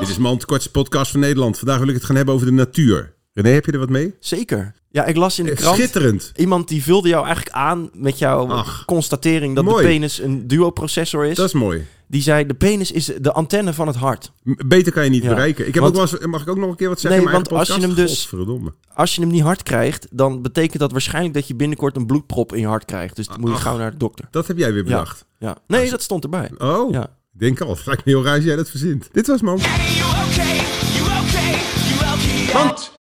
Dit is Mand, kortste podcast van Nederland. Vandaag wil ik het gaan hebben over de natuur. René, heb je er wat Dus- mee? Zeker. Ja, ik las in de Eh, krant. Schitterend. Iemand die vulde jou eigenlijk aan met jouw Ach. constatering dat Mooi. de penis een duoprocessor is. Dat is mooi. Die zei, de penis is de antenne van het hart. M- Beter kan je niet Ja, bereiken. Ik heb want- ook wel eens, mag ik ook nog een keer wat zeggen? Nee, in mijn want eigen als je podcast? hem dus- Godverdomme. Als je hem niet hard krijgt, dan betekent dat waarschijnlijk dat je binnenkort een bloedprop in je hart krijgt. Dus dan moet je Ach. gauw naar de dokter. Dat heb jij weer bedacht. Ja. Nee, dat stond erbij. Oh, Ja. ik denk al. Het lijkt me heel raar als jij dat verzint. Dit was Mand. Daddy, you okay?